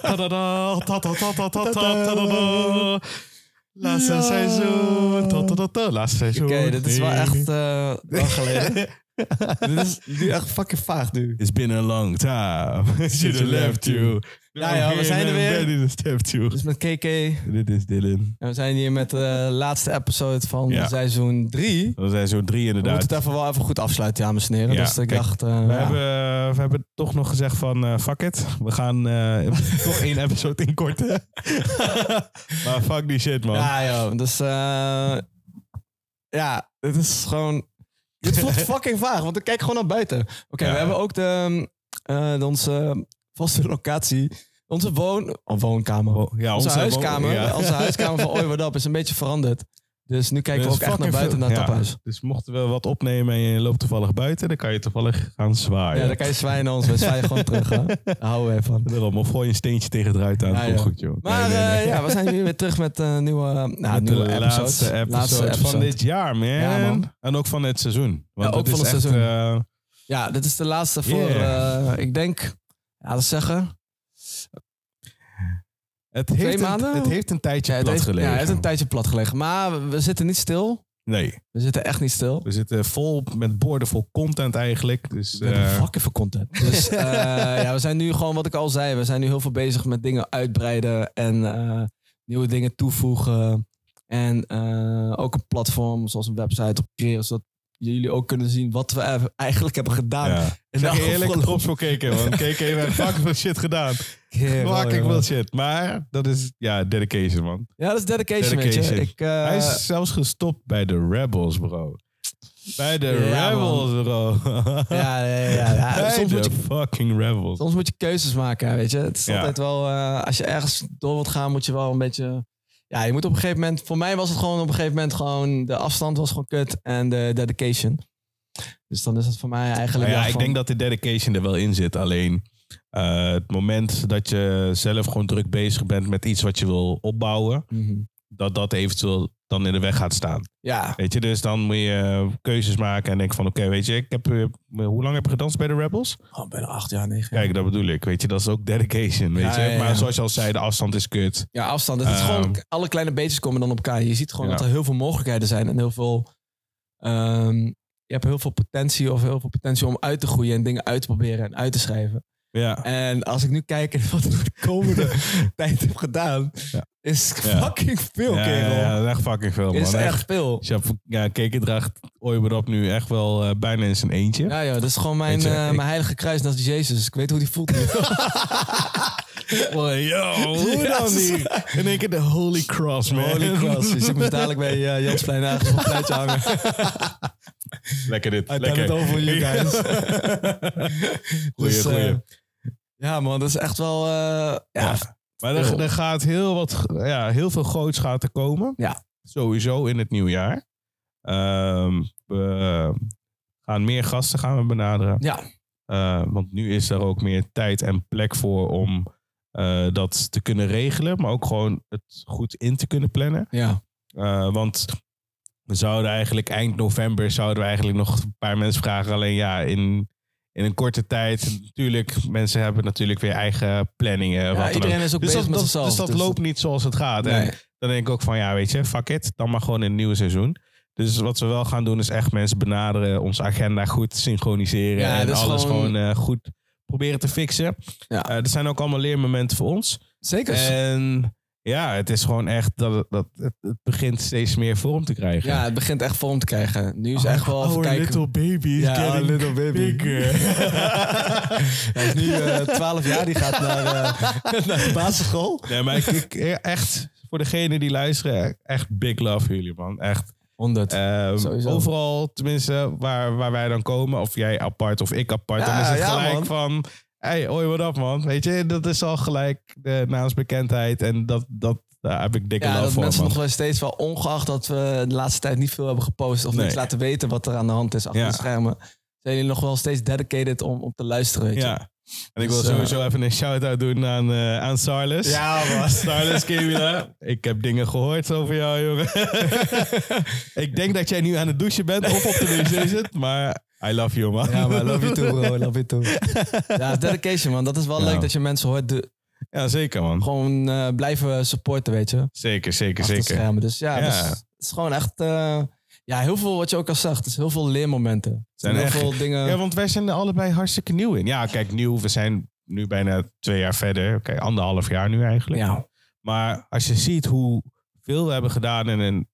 Ta-ta-da, ta-ta-ta-ta-ta, ta-ta-da. Laatste seizoen. ta-ta-ta-ta, Laatste seizoen. Oké, dit is wel echt eh, lang geleden. dit is nu echt fucking vaag nu. It's been a long time since I left you. Ja, ja, we zijn er weer. Ready to step to. Dus met KK. Dit is Dylan. En we zijn hier met de laatste episode van Ja. seizoen 3. We zijn zo drie We inderdaad. moeten het even wel even goed afsluiten, dames en heren. Ja, Dus ik kijk, dacht... eh, We, ja. hebben, we hebben toch nog gezegd van eh, fuck it. We gaan eh, toch één episode inkorten. maar fuck die shit man. Ja, joh. Dus eh, ja, dit is gewoon... Dit voelt fucking vaag, want ik kijk gewoon naar buiten. Oké, Ja. we hebben ook de, eh, de onze vaste locatie. Onze woon... oh, woonkamer. ja, onze, onze huiskamer. woning, ja. Onze huiskamer van Oiwerdap is een beetje veranderd. Dus nu kijken Dus we ook echt naar fucking buiten, veel- naar het ja, taphuis. Dus mochten we wat opnemen en je loopt toevallig buiten, dan kan je toevallig gaan zwaaien. Ja, dan kan je zwaaien naar ons. We zwaaien gewoon terug. Hè? Daar houden we van. Daarom, of gooi een steentje tegen het ruit aan. Ja, dat komt ja. goed, joh. Maar Nee, nee, nee. eh, ja, we zijn hier weer terug met een nieuwe, eh, nou, Met nieuwe de episodes. laatste episode, Laatste van episode. dit jaar, man. Ja, man. En ook van het seizoen. Ja, Want ook het van is het echt, seizoen. eh, Ja, dit is de laatste voor, Yeah. eh, ik denk, ja, dat zeggen. het, Twee heeft een, maanden? het heeft een tijdje Ja, het, plat heeft, ja, gelegen. het heeft een tijdje plat gelegen. Maar we, we zitten niet stil. Nee, We zitten echt niet stil. we zitten vol met borden vol content eigenlijk. Dus, We hebben eh, fucking veel content. Dus eh, ja, we zijn nu gewoon, wat ik al zei, we zijn nu heel veel bezig met dingen uitbreiden en eh, nieuwe dingen toevoegen. En eh, ook een platform zoals een website op creëren, zodat jullie ook kunnen zien wat we ev- eigenlijk hebben gedaan. ja. En Ik zeg je eerlijk, props voor KK, man. KK heeft fucking veel shit gedaan. Fucking veel shit. Maar dat is, ja, dedication, man. Ja, dat is dedication, Dedication. weet je. Ik, eh, Hij is zelfs gestopt bij de Rebels, bro. Bij de Ja, Rebels, bro. ja, ja, ja, ja. bij Soms, de moet je, fucking Rebels. soms moet je keuzes maken, weet je. Het is Ja. altijd wel, eh, als je ergens door wilt gaan, moet je wel een beetje... Ja, je moet op een gegeven moment... Voor mij was het gewoon op een gegeven moment gewoon... De afstand was gewoon kut en de dedication. Dus dan is het voor mij eigenlijk... Nou ja, wel ik van- denk dat de dedication er wel in zit. Alleen eh, het moment dat je zelf gewoon druk bezig bent met iets wat je wil opbouwen, Mhm. dat dat eventueel dan in de weg gaat staan. Ja, Weet je, dus dan moet je keuzes maken en denken van oké, weet je, ik heb, eh, hoe lang heb je gedanst bij de Rebels? oh, bijna acht jaar, negen jaar. Kijk, dat bedoel ik. Weet je, dat is ook dedication. Weet Ja, je? ja, ja. Maar zoals je al zei, de afstand is kut. Ja, afstand. Het is Ehm. gewoon... Alle kleine beetjes komen dan op elkaar. Je ziet gewoon Ja. dat er heel veel mogelijkheden zijn. En heel veel... ehm, je hebt heel veel potentie of heel veel potentie om uit te groeien... en dingen uit te proberen en uit te schrijven. Ja. En als ik nu kijk in wat ik de komende tijd heb gedaan, Ja. is Ja. fucking veel, ja, kerel. ja, ja, echt fucking veel, man. is echt, Echt. veel. Chapeau. Ja, Keke draagt Oiberop nu echt wel eh, bijna in zijn eentje. Ja, joh, dat is gewoon mijn, Weet je, eh, ik- mijn heilige kruis naast Jezus. Ik weet hoe die voelt nu. Oh, yo, hoe Ja, dan ze- niet? In één keer de Holy Cross, man. Holy cross. Dus ik moest dadelijk bij eh, Jansplein ergens op een pleintje hangen. Lekker dit. I lekker. done it all for you guys. goeie, Dus, eh, goeie. ja, man, dat is echt wel... eh, ja, Ja. maar er, er gaat heel, wat, ja, heel veel groots gaat er komen. Ja. Sowieso in het nieuwe jaar. Ehm, we gaan meer gasten gaan we benaderen. ja. Eh, want nu is er ook meer tijd en plek voor om eh, dat te kunnen regelen. Maar ook gewoon het goed in te kunnen plannen. ja. Eh, want we zouden eigenlijk eind november zouden we eigenlijk nog een paar mensen vragen. Alleen ja, in, in een korte tijd. Natuurlijk, mensen hebben natuurlijk weer eigen planningen. wat dan ja ook. iedereen is ook dus bezig dat, met dat- zichzelf. dus dat loopt niet zoals het gaat. En Nee. dan denk ik ook van ja, weet je, fuck it. Dan maar gewoon in het nieuwe seizoen. Dus wat we wel gaan doen is echt mensen benaderen. Onze agenda goed synchroniseren. Ja, en dat is alles gewoon, gewoon- eh, goed proberen te fixen. Ja. Dus- Eh, er zijn ook allemaal leermomenten voor ons. Zeker. En ja, het is gewoon echt dat, het- dat het, het begint steeds meer vorm te krijven. ja, het begint echt vorm te krijgen. Nu is Oh, echt wel even kijken... baby is Ja, our little baby. bigger. Hij is nu eh, 12 jaar, die gaat naar, eh, naar de basisschool. nee, maar ik, ik- echt, voor degene die luisteren, echt big love voor jullie, man. Echt. 100. ehm, Sowieso. overal, tenminste, waar, waar wij dan komen, of jij apart of ik apart, dan Ja, is het ja, gelijk man. van... Hey, hoi, wat op, man? Weet je, dat is al gelijk eh, de naamsbekendheid. En dat, dat, daar heb ik dikke ja, love dat voor, mensen man. nog wel steeds wel, ongeacht dat we de laatste tijd niet veel hebben gepost of Nee. niks laten weten wat er aan de hand is achter Ja. de schermen, zijn jullie nog wel steeds dedicated om, om te luisteren. Weet je? Ja. En ik wil Dus, eh, sowieso even een shout-out doen aan, eh aan Sarles. ja Sarles Kimila. ik heb dingen gehoord over jou, jongen. ik denk dat jij nu aan het douchen bent of op de douche zit. Maar I love you, man. Ja, maar love you too, bro. Love you too. Ja, dedication, man. Dat is wel Ja. leuk dat je mensen hoort. de- Ja, zeker, man. gewoon eh, blijven supporten, weet je. Zeker, zeker, Achter zeker. schermen. Dus ja, Ja. dat is- het is gewoon echt... eh, ja, heel veel wat je ook al zag. Het is heel veel leermomenten. Het zijn Zijn heel echt- veel dingen... Ja, want wij zijn er allebei hartstikke nieuw in. Ja, kijk, nieuw. We zijn nu bijna twee jaar verder. Oké, anderhalf jaar nu eigenlijk. Ja. Maar als je ziet hoe veel we hebben gedaan in een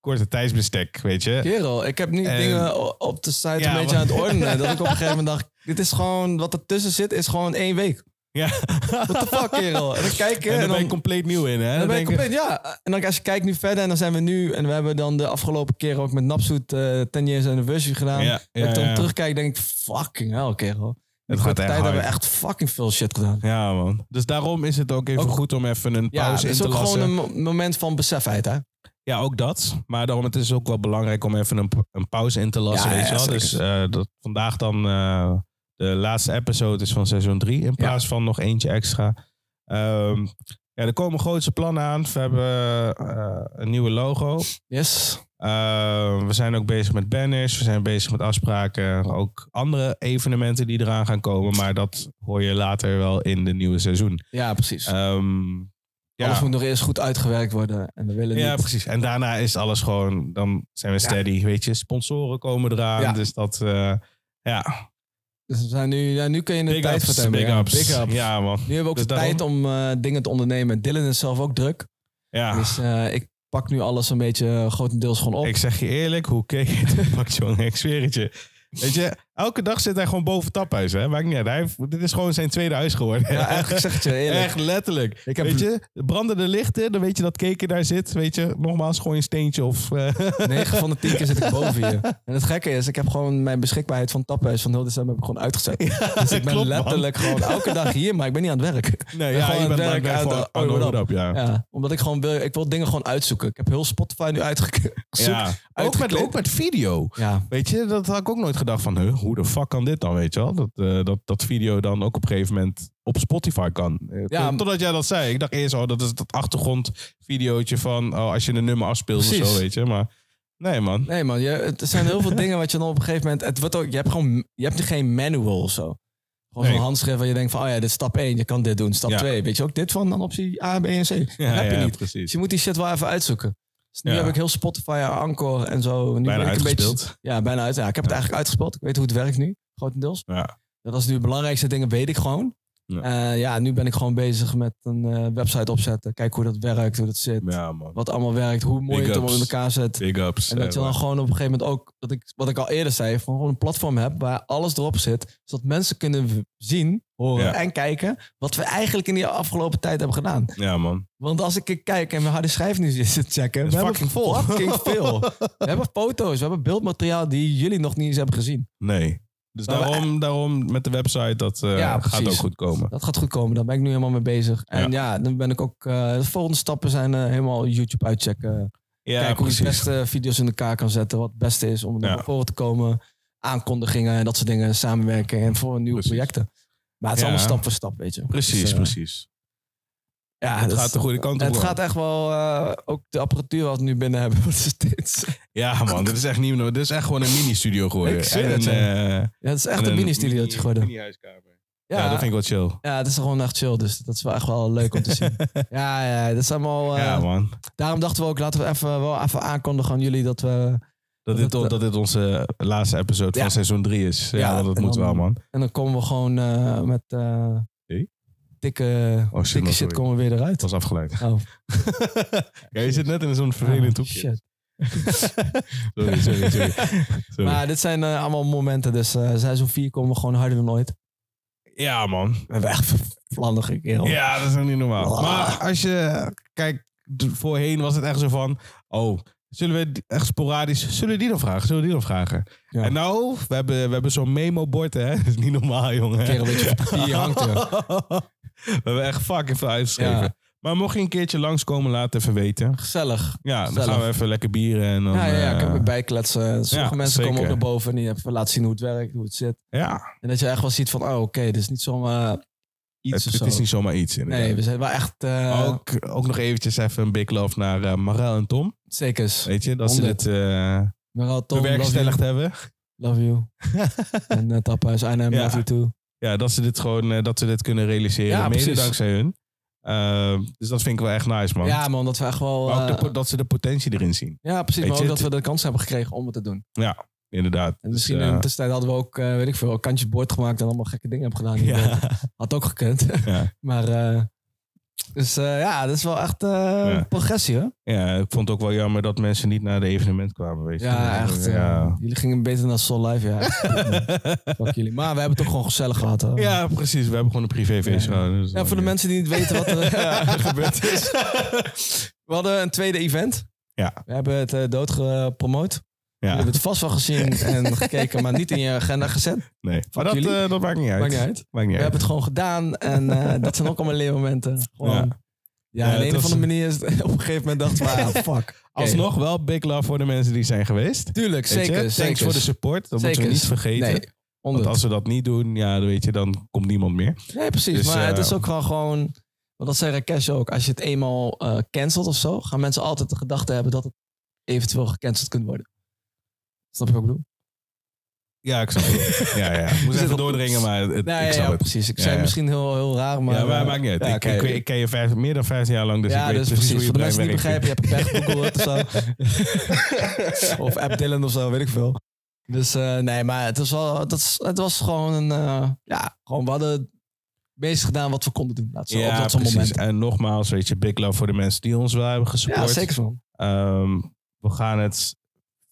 korte tijdsbestek, weet je. Kerel, ik heb nu En- dingen o- op de site Ja, een beetje maar- aan het ordenen. Dat ik op een gegeven moment dacht... Dit is gewoon... Wat ertussen zit, is gewoon één week. Ja. What the fuck, kerel? En dan kijk je... En En daar ben je dan, compleet nieuw in, hè? dan ben je denk ik- compleet, ja. En dan als je kijkt nu verder en dan zijn we nu... En we hebben dan de afgelopen keer ook met Napsoet eh 10 years anniversary gedaan. Ja, Als ja, ik dan ja. terugkijk, denk ik, fucking hell, kerel. In Het die gaat korte echt tijd hard. hebben we echt fucking veel shit gedaan. Ja, man. Dus daarom is het ook even Ook- goed om even een Ja, het pauze in is te ook lassen. gewoon een mo- moment van besefheid, hè? Ja, ook dat. Maar daarom het is ook wel belangrijk om even een, een pauze in te lassen. Ja, weet je ja, wel? zeker. Dus eh, dat vandaag dan eh, de laatste episode is van seizoen 3. In plaats van nog eentje extra. Ehm, ja, er komen grootse plannen aan. We hebben eh, een nieuwe logo. Yes. Eh, we zijn ook bezig met banners. We zijn bezig met afspraken. Ook andere evenementen die eraan gaan komen. Maar dat hoor je later wel in de nieuwe seizoen. Ja, precies. Ehm, ja. Alles moet nog eerst goed uitgewerkt worden. En we willen Ja, niet... precies. En daarna is alles gewoon, dan zijn we steady. Weet je, sponsoren komen eraan. Ja. Dus dat, eh, ja. Dus we zijn nu, ja, nu kun je de Big tijd ups, vertellen. big ja. ups. Big up. Ja, man. Nu hebben we ook Dus de tijd om eh, dingen te ondernemen. Dylan is zelf ook druk. Ja. Dus eh, ik pak nu alles een beetje eh, grotendeels gewoon op. Ah. Ik zeg je eerlijk, hoe keek het? Pak jongen, ik zweer het je. Weet je, elke dag zit hij gewoon boven taphuis. Hè? Maakt niet uit. Hij heeft- dit is gewoon zijn tweede huis geworden. Ja, eigenlijk zeg het je eerlijk. Echt letterlijk. Ik heb- Weet je, branden de lichten, dan weet je dat keken daar zit. Weet je, nogmaals, gewoon een steentje of... eh, 9 van de 10 keer zit ik boven je. En het gekke is, ik heb gewoon mijn beschikbaarheid van taphuis van heel december heb ik gewoon uitgezet. dus ik ben klopt, man. letterlijk gewoon elke dag hier, maar ik ben niet aan het werk. nee, gewoon aan het bent- werk, bent aan gewoon de- aan de oh, hoed wat op, ja. Ja, omdat ik gewoon wil, ik wil dingen gewoon uitzoeken. Ik heb heel Spotify nu uitgezocht. Ja. Ook, met, uitgekleed. ook met video. Ja, Weet je, dat had ik ook nooit gedacht van, huh, hoe de fuck kan dit dan, weet je wel? Dat, eh, dat, dat video dan ook op een gegeven moment op Spotify kan. Eh, Ja, tot- Totdat jij dat zei. Ik dacht eerst, oh, dat is dat achtergrondvideootje van, oh, als je een nummer afspeelt of Precies. zo, weet je. Maar nee, man. nee man, je, het zijn heel veel dingen wat je dan op een gegeven moment, het wordt ook, je hebt gewoon, je hebt geen manual of zo. Gewoon Nee. zo'n handschrift waar je denkt van, oh ja, dit is stap 1, je kan dit doen. Stap Ja. 2, weet je ook dit van, dan optie A, B en C. Dat Ja, heb je ja, niet. Dus precies. je moet die shit wel even uitzoeken. Dus nu Ja. heb ik heel Spotify, Anchor en zo. Nu Bijna ben ik een beetje, uitgespeeld. Ja, bijna uit. Ja, ik heb het eigenlijk uitgespeeld. Ik weet hoe het werkt nu, grotendeels. Ja. Dat is nu de belangrijkste dingen, weet ik gewoon. Ja. Ja, ja nu ben ik gewoon bezig met een eh, website opzetten. Kijken hoe dat werkt, hoe dat zit. Ja, man. Wat allemaal werkt, hoe mooi Big je het allemaal in ups. elkaar zet. Big ups. En dat je eh, dan gewoon op een gegeven moment ook, dat ik, wat ik al eerder zei, van gewoon een platform heb waar alles erop zit. Zodat mensen kunnen w- zien, horen Ja. en kijken wat we eigenlijk in die afgelopen tijd hebben gedaan. ja, man. Want als ik kijk en mijn harde schijf nu zit te checken, is we hebben fucking vol. fucking veel. We hebben foto's, we hebben beeldmateriaal die jullie nog niet eens hebben gezien. Nee. Dus Maar we- daarom, daarom met de website, dat eh, Ja, gaat ook precies. goed komen. Dat gaat goed komen, daar ben ik nu helemaal mee bezig. En ja, dan ben ik ook. eh, de volgende stappen zijn eh, helemaal YouTube uitchecken. Ja, Kijken hoe je precies. de beste video's in elkaar kan zetten. Wat het beste is om Ja. naar voren te komen. Aankondigingen en dat soort dingen. Samenwerken en voor nieuwe Precies. projecten. Maar het is Ja. allemaal stap voor stap, weet je. Precies, Dus, eh, precies. Ja, het dat- gaat de goede kant op. Het man. gaat echt wel. eh, ook de apparatuur wat we nu binnen hebben, wordt steeds. Ja, man, dit is echt niet Dit is echt gewoon een mini-studio geworden. Ik zweer En het, een, ja. eh, Ja, het is echt en een mini-studiootje geworden. mini-huiskamer. Ja, dat vind ik wel chill. ja, het is gewoon echt chill. Dus dat is wel echt wel leuk om te zien. ja, ja, dat is allemaal. eh, ja, man. daarom dachten we ook, laten we even, wel even aankondigen aan jullie dat we. Dat dit, dat- dat dit onze laatste episode Ja. van seizoen 3 is. Ja, Ja, want dat en moet dan- wel, man. En dan komen we gewoon eh, met. eh Hey? Dikke, Oh, shit, dikke man, shit sorry. komen we weer eruit. Het was afgeleid. Oh, ja, je zit net in zo'n vervelend oh, hoekje. shit. Sorry, sorry, sorry. Sorry. Maar dit zijn eh, allemaal momenten. Dus eh seizoen 4 komen we gewoon harder dan ooit. ja, man. We hebben echt vlandige kerel. Ja, dat is ook niet normaal. Ah. Maar als je... Kijk, d- voorheen was het echt zo van... Oh, zullen we die- echt sporadisch... Zullen we die dan vragen? Zullen we die dan vragen? Ja. En nou, we hebben, we hebben zo'n memo-bord, hè. Dat is niet normaal, jongen. Kerel, weet je, die hangt er. We hebben echt fucking veel uitgeschreven. Ja. Maar mocht je een keertje langskomen, laat even weten. Gezellig. Ja, dan Gezellig. gaan we even lekker bieren en dan... Ja, ja, ja, eh, ik heb erbij kletsen. Sommige ja, mensen komen ook zeker. naar boven en die hebben laten zien hoe het werkt, hoe het zit. ja. En dat je echt wel ziet van, oh oké, dit is niet zomaar Het, iets of het zo. is niet zomaar iets, inderdaad. nee, we zijn wel echt eh ook, ook nog eventjes even een big love naar eh Marel en Tom. zekers. Weet je, dat ze dit eh Maar al Tom, love you. bewerkstelligd hebben. Love you. en uh, Taphuis, I am Ja. love you too. Ja, dat ze dit gewoon eh, dat ze dit kunnen realiseren. Ja, mede precies. dankzij hun. Eh, dus dat vind ik wel echt nice, man. Ja man, dat we echt wel... maar ook de eh, po- dat ze de potentie erin zien. ja precies, weet maar ook je, dat we het- de kans hebben gekregen om het te doen. Inderdaad. En misschien Dus, in eh, de tussentijd hadden we ook, eh, weet ik veel, kantjes boord gemaakt en allemaal gekke dingen hebben gedaan. eh, ja. Had ook gekund. Ja. maar eh, dus eh, ja, dat is wel echt eh, Ja. progressie hoor. ja, ik vond het ook wel jammer dat mensen niet naar de evenement kwamen. Weet je. Ja, echt. eh, Ja. jullie gingen beter naar Soul Live, ja. Fuck jullie. Maar we hebben het toch gewoon gezellig gehad. Hoor. ja, precies. We hebben gewoon een privéfeest Ja. gehouden. Dus Ja, voor de mensen die niet weten wat eh, er gebeurd is. We hadden een tweede event. Ja. We hebben het eh, dood gepromoot. Ja, Jullie hebben het vast wel gezien en gekeken, maar niet in je agenda gezet. nee. Maar Fuck dat, jullie. eh, dat maakt niet uit. Maakt niet uit. Maakt niet uit. We hebben het gewoon gedaan en eh, dat zijn ook allemaal leermomenten. Gewoon, Ja. ja, Ja, op het een was of andere manier is het- op een gegeven moment dachten we, ah, fuck. Alsnog wel big love voor de mensen die zijn geweest. Tuurlijk, Weet je? zeker. Thanks zeker. voor de support. Dat moeten we niet Zekers. vergeten. Nee, Want honderd. als we dat niet doen, ja, dan weet je, dan komt niemand meer. Nee, precies. Dus, maar eh, het is ook wel gewoon... Want dat zei Rakesh ook. Als je het eenmaal eh, cancelt of zo... gaan mensen altijd de gedachte hebben dat het eventueel gecanceld kunt worden. Snap je wat ik bedoel? Ja, ik snap het. ja, ja. Ik moest zitten even op- doordringen, maar het, Nee, ik ja, snap ja, het. precies. Ik Ja, zei ja. misschien heel, heel raar, maar... ja, maar eh, maakt niet uit. ja, ik, oké. ik, ik ken je vijf, meer dan 15 jaar lang, dus ja, ik weet dus precies precies. hoe je Voor de brein mensen die werkt. begrijpen, je hebt een pech gegoogeld of zo. of app Dylan of zo, weet ik veel. Dus eh, nee, maar het was, wel, dat is, het was gewoon een... eh, ja, gewoon we hadden het meest gedaan wat we konden doen. Laat zo, op Ja, dat soort precies. momenten. En nogmaals, weet je, big love voor de mensen die ons wel hebben Ja, gesupport. zeker man. Ehm, we gaan het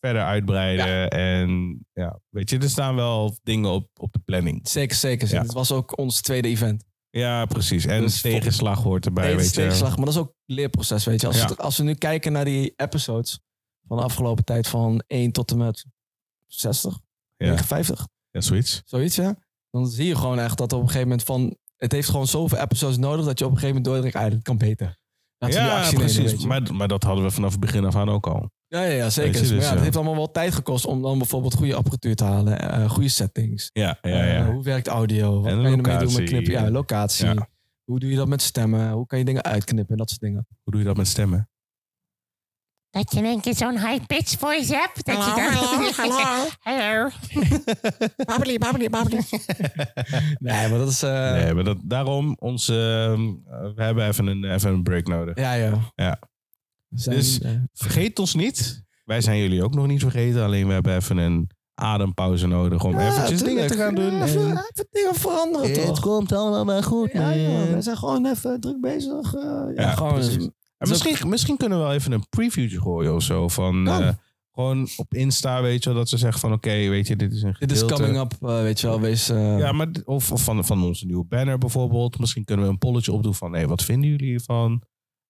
verder uitbreiden. En ja, weet je, er staan wel dingen op, op de planning. Zeker, zeker. Ja. Het was ook ons tweede event. Ja, precies. En Dus vol- tegenslag hoort erbij, Eén weet je. tegenslag, maar dat is ook leerproces, weet je. Als, Ja. het- als we nu kijken naar die episodes van de afgelopen tijd van 1 tot en met 60, Ja. 59, Ja, zoiets. zoiets, ja. Dan zie je gewoon echt dat op een gegeven moment van... Het heeft gewoon zoveel episodes nodig dat je op een gegeven moment doordringt... Ah, dat kan beter. Laten we die Ja, actie nemen, weet precies. je. maar, maar dat hadden we vanaf het begin af aan ook al. ja, ja, ja, zeker. Weet je, maar dus, ja, het ja. heeft allemaal wel tijd gekost om dan bijvoorbeeld goede apparatuur te halen. eh, goede settings. Ja, ja, ja. Eh, hoe werkt audio? Wat En de kan je ermee doen locatie. met knippen? Ja, locatie. Ja. Hoe doe je dat met stemmen? Hoe kan je dingen uitknippen? en Dat soort dingen. Hoe doe je dat met stemmen? Dat je in één keer zo'n high-pitched voice hebt. Dat Hallo, je dan... hallo, hallo. hallo. Babbeli, babbeli, babbeli. Nee, maar dat is... eh, nee, maar dat, daarom onze... ehm, we hebben even een, even een break nodig. Ja, ja. Ja. We zijn, Dus- eh, Vergeet ons niet. Wij zijn jullie ook nog niet vergeten. Alleen we hebben even een adempauze nodig om ja, eventjes dingen tuurlijk. te gaan doen. Ja, even, even dingen veranderen, toch? komt allemaal wel goed. Ja, joh, we zijn gewoon even druk bezig. eh, ja, Ja, gewoon precies. een- En misschien, misschien kunnen we wel even een previewtje gooien of zo. Van, Kan. eh, gewoon op Insta, weet je wel, dat ze zeggen van oké, weet je, dit is een Dit gedeelte. is coming up, eh, weet je wel. Wees, eh, Ja, maar, d- of of van, van onze nieuwe banner bijvoorbeeld. Misschien kunnen we een polletje opdoen van hé, wat vinden jullie hiervan?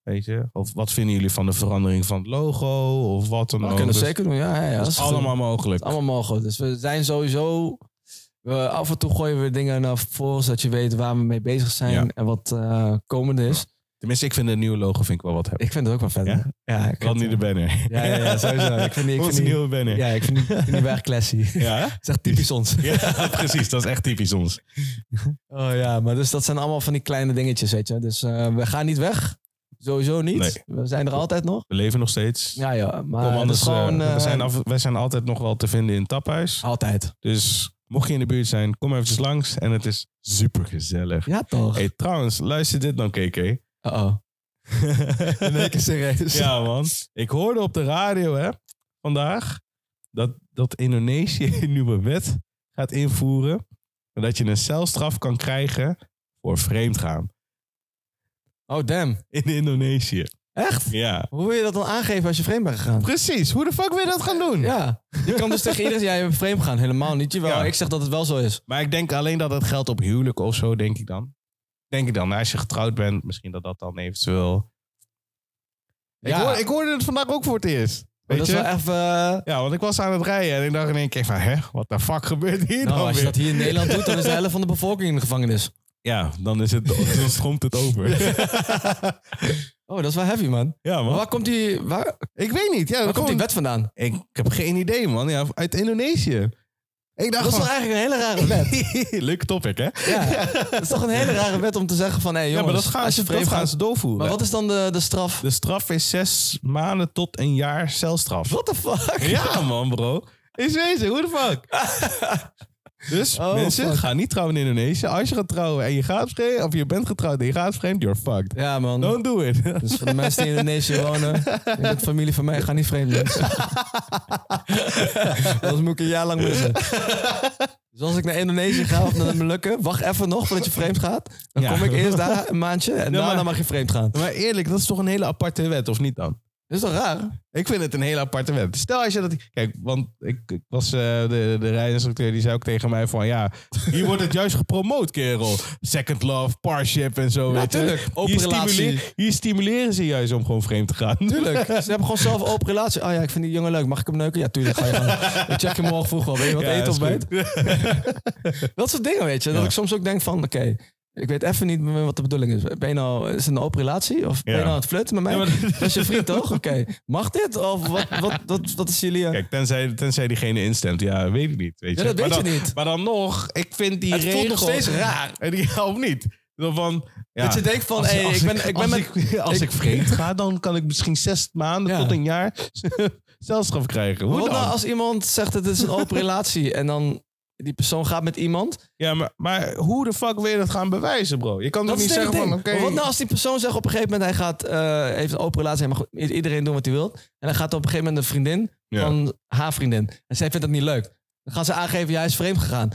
Weet je? Of wat vinden jullie van de verandering van het logo? Of wat dan we ook. kunnen Dus het zeker doen. Ja, ja, ja, dat dat is goed. allemaal Het mogelijk. is allemaal mogelijk. Dus we zijn sowieso... We, af en toe gooien we dingen naar voren, zodat je weet waar we mee bezig zijn Ja. en wat eh, komende is. Tenminste, ik vind de nieuwe logo vind ik wel wat hebben. Ik vind het ook wel vet. Ja? hè? ja ik Ik had vind- nu de banner. Ja, ja, ja, sowieso. Ik vind die- ik Onze vind die- nieuwe banner. Ja. Ja, ik vind die, ik vind die wel echt classy. Het Ja? is echt typisch ons. precies. Dat is echt typisch ons. Oh ja, maar dus dat zijn allemaal van die kleine dingetjes, weet je. Dus eh, we gaan niet weg. Sowieso niet. Nee. We zijn er altijd nog. We leven nog steeds. Ja, ja. Maar Kom dat anders, is gewoon... eh, eh, Ah. we zijn af- wij zijn altijd nog wel te vinden in het Taphuis. Altijd. Dus mocht je in de buurt zijn, kom eventjes langs. En het is super gezellig. Ja, toch? Hey, trouwens, luister dit dan, KK. Uh-oh. In één keer serieus. ja, man. Ik hoorde op de radio hè, vandaag dat, dat Indonesië een nieuwe wet gaat invoeren. En dat je een celstraf kan krijgen voor vreemdgaan Oh, damn. in Indonesië. Echt? Ja. Hoe wil je dat dan aangeven als je vreemd bent gegaan? Precies, hoe de fuck wil je dat gaan doen? Ja. Je kan dus tegen iedereen zeggen, jij bent vreemd gegaan. Helemaal niet. Jawel, Hm. Ja. ik zeg dat het wel zo is. Maar ik denk alleen dat het geldt op huwelijk of zo, denk ik dan. Denk ik dan. Als je getrouwd bent, misschien dat dat dan eventueel... Ja. Ik, hoor, ik hoorde het vandaag ook voor het eerst. Maar Weet dat je? is wel even... eh, Ja, want ik was aan het rijden en ik dacht in één keer van... Hè, wat de fuck gebeurt hier nou, dan als je weer? dat hier in Nederland doet, dan is de helft van de bevolking in de gevangenis. Ja, dan, is het, dan stroomt het over. Oh, dat is wel heavy, man. ja, Maar man. waar komt die, waar, waar Ik weet niet. Ja, komt die gewoon- wet vandaan? ik, ik heb geen idee, man. Ja, uit Indonesië. Ik dacht Dat is van... wel eigenlijk een hele rare wet. Leuk topic, hè? Ja, Ja, dat is toch een hele rare wet om te zeggen van... Hey, jongens, maar dat gaan, als je ze vreemd dat gaan gaat... ze doorvoeren. Maar wat is dan de, de straf? De straf is zes maanden tot een jaar celstraf. What the fuck? Ja, man, bro. Is wezen, hoe de fuck? Dus Oh, mensen, fuck. ga niet trouwen in Indonesië. Als je gaat trouwen en je gaat vreemd, of je bent getrouwd en je gaat vreemd, you're fucked. Ja, man. Don't do it. Dus voor de mensen die in Indonesië wonen, je bent familie van mij, ga niet vreemd mensen. Anders moet ik een jaar lang missen. Dus als ik naar Indonesië ga of naar de Molukken, wacht even nog voordat je vreemd gaat. Dan Ja. kom ik eerst daar een maandje en Ja, daarna maar- mag je vreemd gaan. Maar eerlijk, dat is toch een hele aparte wet, of niet dan? Dat is toch raar? Ik vind het een hele aparte wet. Stel als je dat... Kijk, want ik, ik was eh, de, de rijinstructeur, die zei ook tegen mij van... Ja, hier wordt het juist gepromoot, kerel. Second love, parship en zo. weet je. tuurlijk. Open Hier, relatie. stimuleer- hier stimuleren ze juist om gewoon vreemd te gaan. Tuurlijk. Ze hebben gewoon zelf een open relatie. Oh ja, ik vind die jongen leuk. Mag ik hem neuken? Ja, tuurlijk. Ga je gewoon. Ik check je morgen vroeg wel. Weet je wat Ja, eten is of bijt? goed. Dat soort dingen, weet je. Dat Ja. ik soms ook denk van, oké, ik weet even niet meer wat de bedoeling is. Ben je nou, is het een open relatie? Of ben Ja. je nou aan het flirten met mij? Ja, maar- Dat is je vriend, toch? Oké, mag dit? Of wat, wat, wat, wat is jullie... eh, Kijk, tenzij, tenzij diegene instemt. Ja, weet ik niet. Weet Ja, je. dat maar weet dan, je niet. Maar dan nog, ik vind die Het regel... voelt nog steeds raar. En die helpt niet. Dan van... Ja, Dat je denkt van, als- hey, als ik ben, ik ben als met... ik- als ik- ik vreemd ga, dan kan ik misschien zes maanden Ja. tot een jaar zelfstraf krijgen. Hoe Wat dan? nou als iemand zegt dat het is een open relatie en dan die persoon gaat met iemand? Ja, maar, maar hoe de fuck wil je dat gaan bewijzen, bro? Je kan Dat toch is niet het hele zeggen van, ding. oké... Maar Wat nou als die persoon zegt op een gegeven moment hij gaat, eh, heeft een open relatie, hij mag i- iedereen doen wat hij wil. En dan gaat op een gegeven moment een vriendin Ja. van haar vriendin. En zij vindt dat niet leuk. Dan gaan ze aangeven, ja, hij is vreemd gegaan.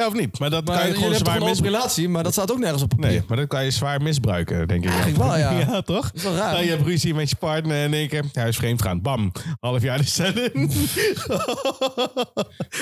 Ja, of niet? Maar dat Maar kan je gewoon jullie hebben zwaar toch een open misbruiken. relatie, maar dat staat ook nergens op papier. Nee, maar dat kan je zwaar misbruiken, denk ik. Eigenlijk wel, ja. ja, toch? Dat is wel raar. Nou, je hebt ruzie met je partner en in één keer, hij is vreemd gaan. Bam, half jaar de cel in.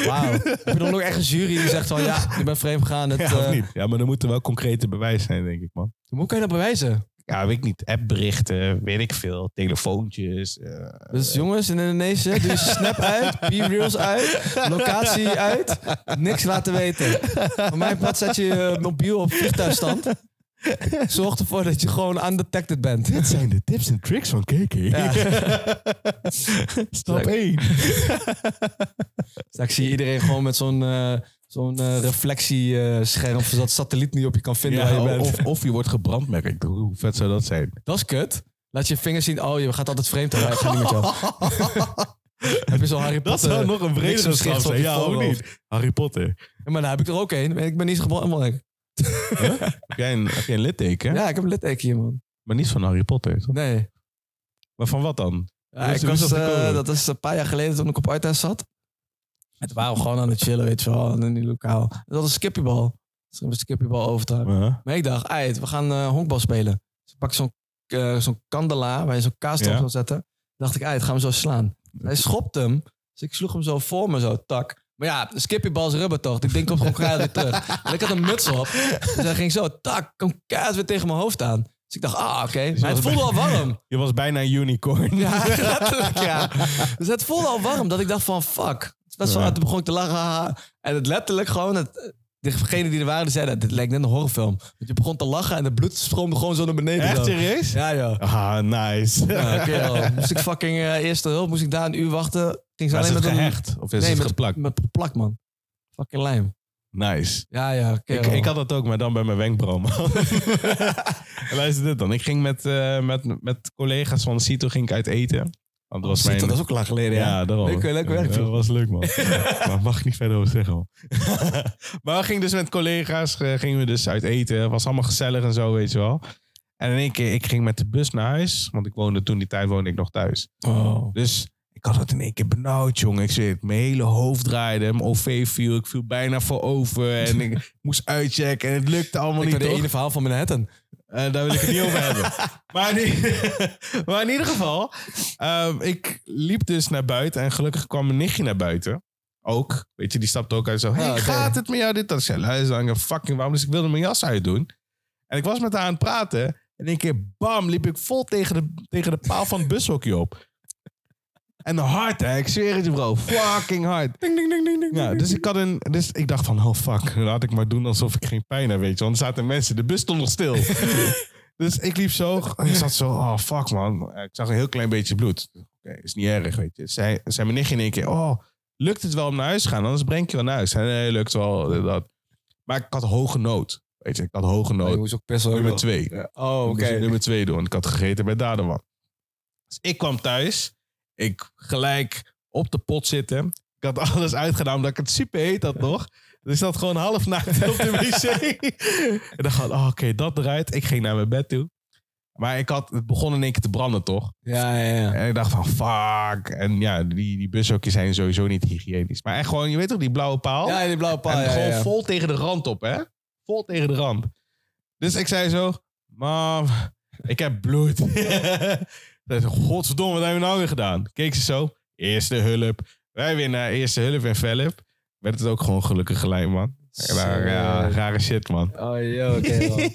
Wauw. Heb je dan ook echt een jury die zegt van, ja, ik ben vreemd gegaan. Het, Ja, of eh, niet? Ja, maar dan moet er wel concrete bewijs zijn, denk ik, man. Hoe kan je dat bewijzen? Ja, weet ik niet. Appberichten, weet ik veel. Telefoontjes. eh. Dus jongens in Indonesië, doe je snap uit, b-reels uit, locatie uit, niks laten weten. Voor mijn part zet je je mobiel op vliegtuigstand. Zorg ervoor dat je gewoon undetected bent. Dit zijn de tips en tricks van KK. Stap Leuk. 1. Straks zie je iedereen gewoon met zo'n eh, zo'n eh, reflectiescherm, of dat satelliet niet op je kan vinden waar je bent. of, of je wordt gebrandmerkt. Hoe hoe vet zou dat zijn? Dat is kut. Laat je vingers zien. Oh, je gaat altijd vreemd. eruit. Ik ga niet met jou. heb je zo'n Harry Dat eh, Potter? zou nog een bliksem vrede schicht straf op zijn. je Ja, ook voorhoofd. niet. Harry Potter. Ja, maar daar heb ik er ook één. Ik ben niet zo geboren. Heb jij een, heb jij een litteken? Ja, ik heb een litteken hier, man. Maar niet van Harry Potter. toch? Nee. Maar van wat dan? Ja, Dus ik hoe was, is dat eh, gekomen? dat is een paar jaar geleden toen ik op Uithuis zat. En toen waren we gewoon aan het chillen, weet je wel. In die lokaal. Dat was skippiebal. Dus we hebben skippiebal overtuigd. Ja. Maar ik dacht, uit, we gaan eh, honkbal spelen. Dus ik pak zo'n eh, zo'n kandelaar waar je zo'n kaas op Ja. wil zetten. Dacht ik, uit, gaan we zo slaan. Hij schopt hem. Dus ik sloeg hem zo voor me, zo, tak. Maar ja, skippybal is rubber toch? Ik denk op gewoon keihard weer terug. En ik had een muts op. Dus hij ging zo, tak, kwam keihard weer tegen mijn hoofd aan. Dus ik dacht, ah, oké. Maar het voelde al warm. Je was bijna een unicorn. Ja, letterlijk, ja. Dus het voelde al warm dat ik dacht van, fuck. Het is best wel, Ja. toen begon ik te lachen. haha. En het letterlijk gewoon, het, degenen die er waren, die zeiden, dit lijkt net een horrorfilm. Want je begon te lachen en het bloed stroomde gewoon zo naar beneden. Echt zo. serieus? Ja, joh. Ah, nice. Ja, kerel. Moest ik fucking eh, eerste hulp, moest ik daar een uur wachten. Ging ze Maar is alleen het met een... gehecht? Of is nee, het met, geplakt? met plak, man. Fucking lijm. Nice. Ja, ja, Ik, kerel. ik had dat ook, maar dan bij mijn wenkbrauw, man. Luister dit dan. Ik ging met, eh, met, met collega's van Cito ging ik uit eten. Want dat was mijn... Ziet, Oh, dat is ook lang geleden, ja. ja, daarom. Leuk, leuk werk, Ja, joh. Dat was leuk, man. maar mag ik niet verder over zeggen, man. maar we gingen dus met collega's, eh, gingen we dus uit eten. Het was allemaal gezellig en zo, weet je wel. En in één keer, ik ging met de bus naar huis. Want ik woonde toen die tijd woonde ik nog thuis. Oh. Dus ik had het in één keer benauwd, jongen. Ik zweer het, mijn hele hoofd draaide, mijn OV viel, ik viel bijna voorover en ik moest uitchecken en het lukte allemaal Ik niet. weet het toch? ene verhaal van Manhattan. Eh, daar wil ik het niet over hebben. Maar in, i- maar in ieder geval, ehm, ik liep dus naar buiten en gelukkig kwam mijn nichtje naar buiten. Ook, weet je, die stapte ook uit zo. Hey, oké. gaat het met jou dit? Dat ik zei, luister, hangen fucking warm. Dus ik wilde mijn jas uitdoen. En ik was met haar aan het praten. En in één keer, bam, liep ik vol tegen de, tegen de paal van het bushokje op. En hard, hè. Ik zweer het je, bro. Fucking hard. Ding, ding, ding, ding, ding. Ja, dus ik, had een, dus ik dacht van, oh fuck, laat ik maar doen alsof ik geen pijn heb, weet je. Want er zaten mensen, de bus stond nog stil. dus ik liep zo, en ik zat zo, oh fuck man. Ik zag een heel klein beetje bloed. Oké, is niet erg, weet je. Zij, zij mijn nichtje in één keer, oh, lukt het wel om naar huis te gaan? Anders breng ik je wel naar huis. Hij, Nee, lukt wel. dit, Dat. Maar ik had hoge nood, weet je. Ik had hoge Oh, je nood. moest ook pissen. ook nummer wel. twee. Oh, oké. Oké. nummer twee doen. Ik had gegeten bij Daderman. Dus ik kwam thuis. Ik gelijk op de pot zitten. Ik had alles uitgedaan omdat ik het super heet had nog. Dus ik zat gewoon half naakt op de wc. en dan gewoon, oh, oké, dat eruit. Ik ging naar mijn bed toe. Maar ik had, het begon in één keer te branden, toch? Ja, ja, ja. En ik dacht van, fuck. En ja, die, die bushokjes zijn sowieso niet hygiënisch. Maar echt gewoon, je weet toch, die blauwe paal? Ja, die blauwe paal. Oh. en ja, gewoon ja. vol tegen de rand op, hè? Vol tegen de rand. Dus ik zei zo, mam, ik heb bloed. Zij zei, Godverdomme, wat hebben we nou weer gedaan? Keek ze zo, eerste hulp. Wij weer naar eerste hulp en Velp. Werd het ook gewoon gelukkig gelijk, man. Ja, ja, rare shit, man. Oh, joh, oké. man.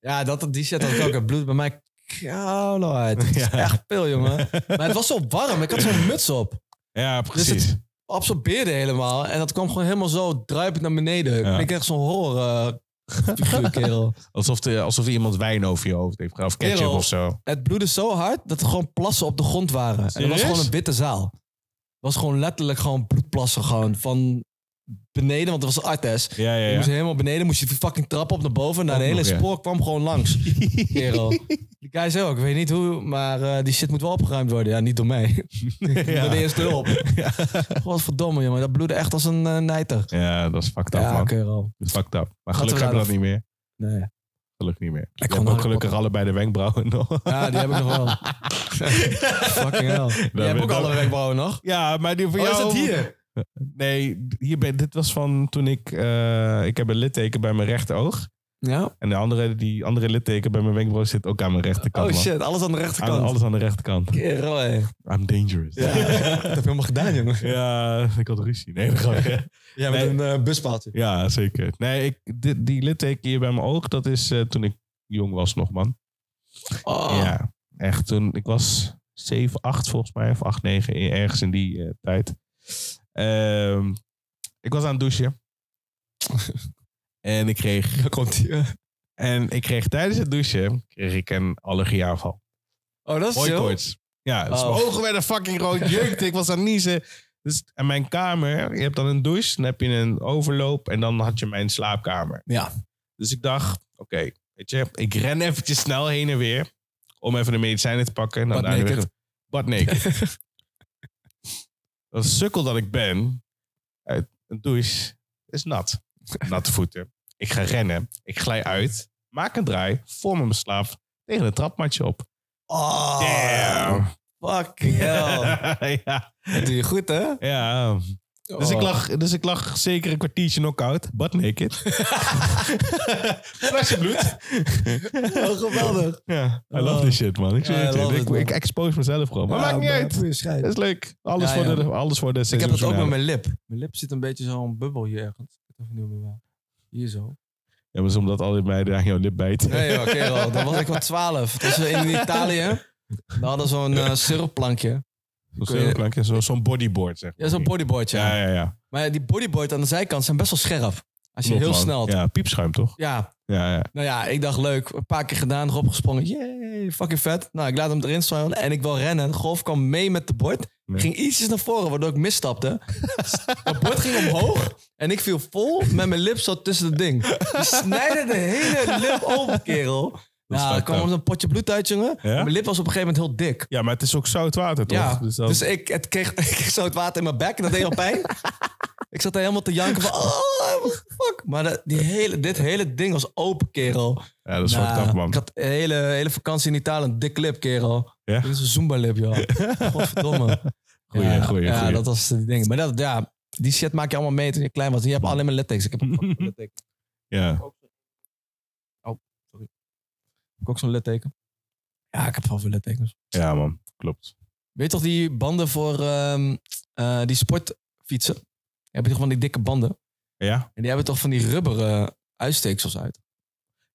ja, dat, die shit had ik ook. Het bloed bij mij koude uit. Het is Ja. echt pil, jongen. Maar het was zo warm. Ik had zo'n muts op. Ja, Dus precies. het absorbeerde helemaal. En dat kwam gewoon helemaal zo druipend naar beneden. Ja. Ik kreeg zo'n horror eh, figuur, kerel. Alsof, de, alsof iemand wijn over je hoofd heeft gedaan. Of ketchup Kerel. of zo. Het bloedde zo hard dat er gewoon plassen op de grond waren. En het was Serieus? gewoon een witte zaal. Het was gewoon letterlijk gewoon bloedplassen gewoon van beneden, want het was Artes. Ja, ja, Je moest ja. helemaal beneden, moest je die fucking trap op naar boven. Naar de Ook hele nog, ja. spoor kwam gewoon langs. Kerel. Die guy zei ook, ik weet niet hoe, maar eh, die shit moet wel opgeruimd worden. Ja, niet door mij. Door de ja. eerste hulp. Godverdomme, jongen. Dat bloedde echt als een eh, nijter. Ja, dat is fucked up, Ja, man. kerel. Dat is fucked up. Maar Laten gelukkig we hebben we dat niet daar meer. Nee. Gelukkig niet meer. Ik gewoon heb ook harde gelukkig pap. allebei de wenkbrauwen nog. Ja, die heb ik nog wel. fucking hell. ben Jij hebt ik ook dan- alle wenkbrauwen nog? Ja, maar die van Oh, is jou... dat hier? Nee, hier ben, dit was van toen ik... eh, ik heb een litteken bij mijn rechteroog. Ja. En de andere, die andere litteken bij mijn wenkbrauw zit ook aan mijn rechterkant. Oh man. shit, alles aan de Aan- rechterkant. alles aan de rechterkant. Kerel, hé. I'm dangerous. Ja, dat heb je helemaal gedaan, jongen. Ja, ik had ruzie. Nee, dat grapje. Ja, met een, eh, buspaaltje. Ja, zeker. Nee, ik, dit, die litteken hier bij mijn oog, dat is eh, toen ik jong was nog, man. Oh. Ja, echt. Toen, ik was 7, 8 volgens mij, of 8, 9, e- ergens in die eh, tijd. Ehm, ik was aan het douchen. en, ik kreeg, Daar komt hij. en ik kreeg tijdens het douchen kreeg ik een allergieaanval. Oh, dat is zo. Hooikoorts. Ja, dus Oh. mijn ogen werden fucking rood. Jeukte, ik was aan het niezen. Dus, en mijn kamer, je hebt dan een douche, dan heb je een overloop en dan had je mijn slaapkamer. Ja. Dus ik dacht, oké, weet je, ik ren eventjes snel heen en weer om even de medicijnen te pakken. en dan Butt daar weer naked. weg- Butt naked. dat sukkel dat ik ben, uit een douche is nat. Natte voeten. Ik ga rennen, ik glij uit, maak een draai, voor mijn slaap tegen een trapmatje op. Oh, Damn. Fucking hell. ja. Dat doe je goed, hè? ja. Dus, Oh. ik lag, dus ik lag zeker een kwartiertje knock-out. Butt naked. Flesje bloed. Oh, geweldig. Ja, I love this shit, man. Ik, Ja, I zweer het je. love ik, it, man. ik expose mezelf gewoon. Ah, Maar maakt niet uit. Dat is leuk. Alles, Ja, voor, ja. De, alles voor de Ik heb het ook met seizoensfinale. mijn lip. Mijn lip zit een beetje zo'n bubbel hier ergens. Ik weet niet hoe het wel. Hier zo. Ja, maar is omdat al die meiden aan jouw lip bijten. Nee, joh, kerel. Dan was ik wel twaalf. Dat was in Italië. We hadden zo'n eh sirupplankje. Zo'n kun je- zeurplankje, zo- Zo'n bodyboard, zeg maar. Ja, zo'n bodyboard, ja. Ja, ja, ja. Maar ja, die bodyboard aan de zijkant zijn best wel scherp. Als je Klopt, heel man. snel... Ja, piepschuim, toch? ja, Ja, ja. Nou ja, ik dacht leuk. Een paar keer gedaan, erop gesprongen. Jee, fucking vet. Nou, ik laat hem erin staan en ik wil rennen. De golf kwam mee met de bord. Nee. Ging ietsjes naar voren, waardoor ik misstapte. Het bord ging omhoog en ik viel vol met mijn lip zo tussen het ding. Die snijden de hele lip over, kerel. is Nou, er fucked kwam up. een potje bloed uit, jongen. Ja? Mijn lip was op een gegeven moment heel dik. Ja, maar het is ook zout water, toch? Ja, Dus dus, dat- ik, het kreeg, ik kreeg zo het water in mijn bek en dat deed al pijn. ik zat daar helemaal te janken van, oh, what the fuck. Maar dat- die hele, dit hele ding was open, kerel. ja, dat is Nou, fucked up, man. Ik had de hele, hele vakantie in Italië een dik lip, kerel. Ja? Dit is een Zumba-lip, joh. Godverdomme. Goeie, ja, goeie, Ja, goeie. dat was het ding. Maar dat, ja, die shit maak je allemaal mee toen je klein was. Je hebt alleen maar littekens. Ik heb ook fucking litteken. Ja. Ik heb ook zo'n litteken. Ja, ik heb wel veel littekens. ja, man. Klopt. Weet je toch die banden voor ehm, eh, die sportfietsen? Die hebben toch van die dikke banden? Ja? En die hebben toch van die rubberen uitsteeksels uit?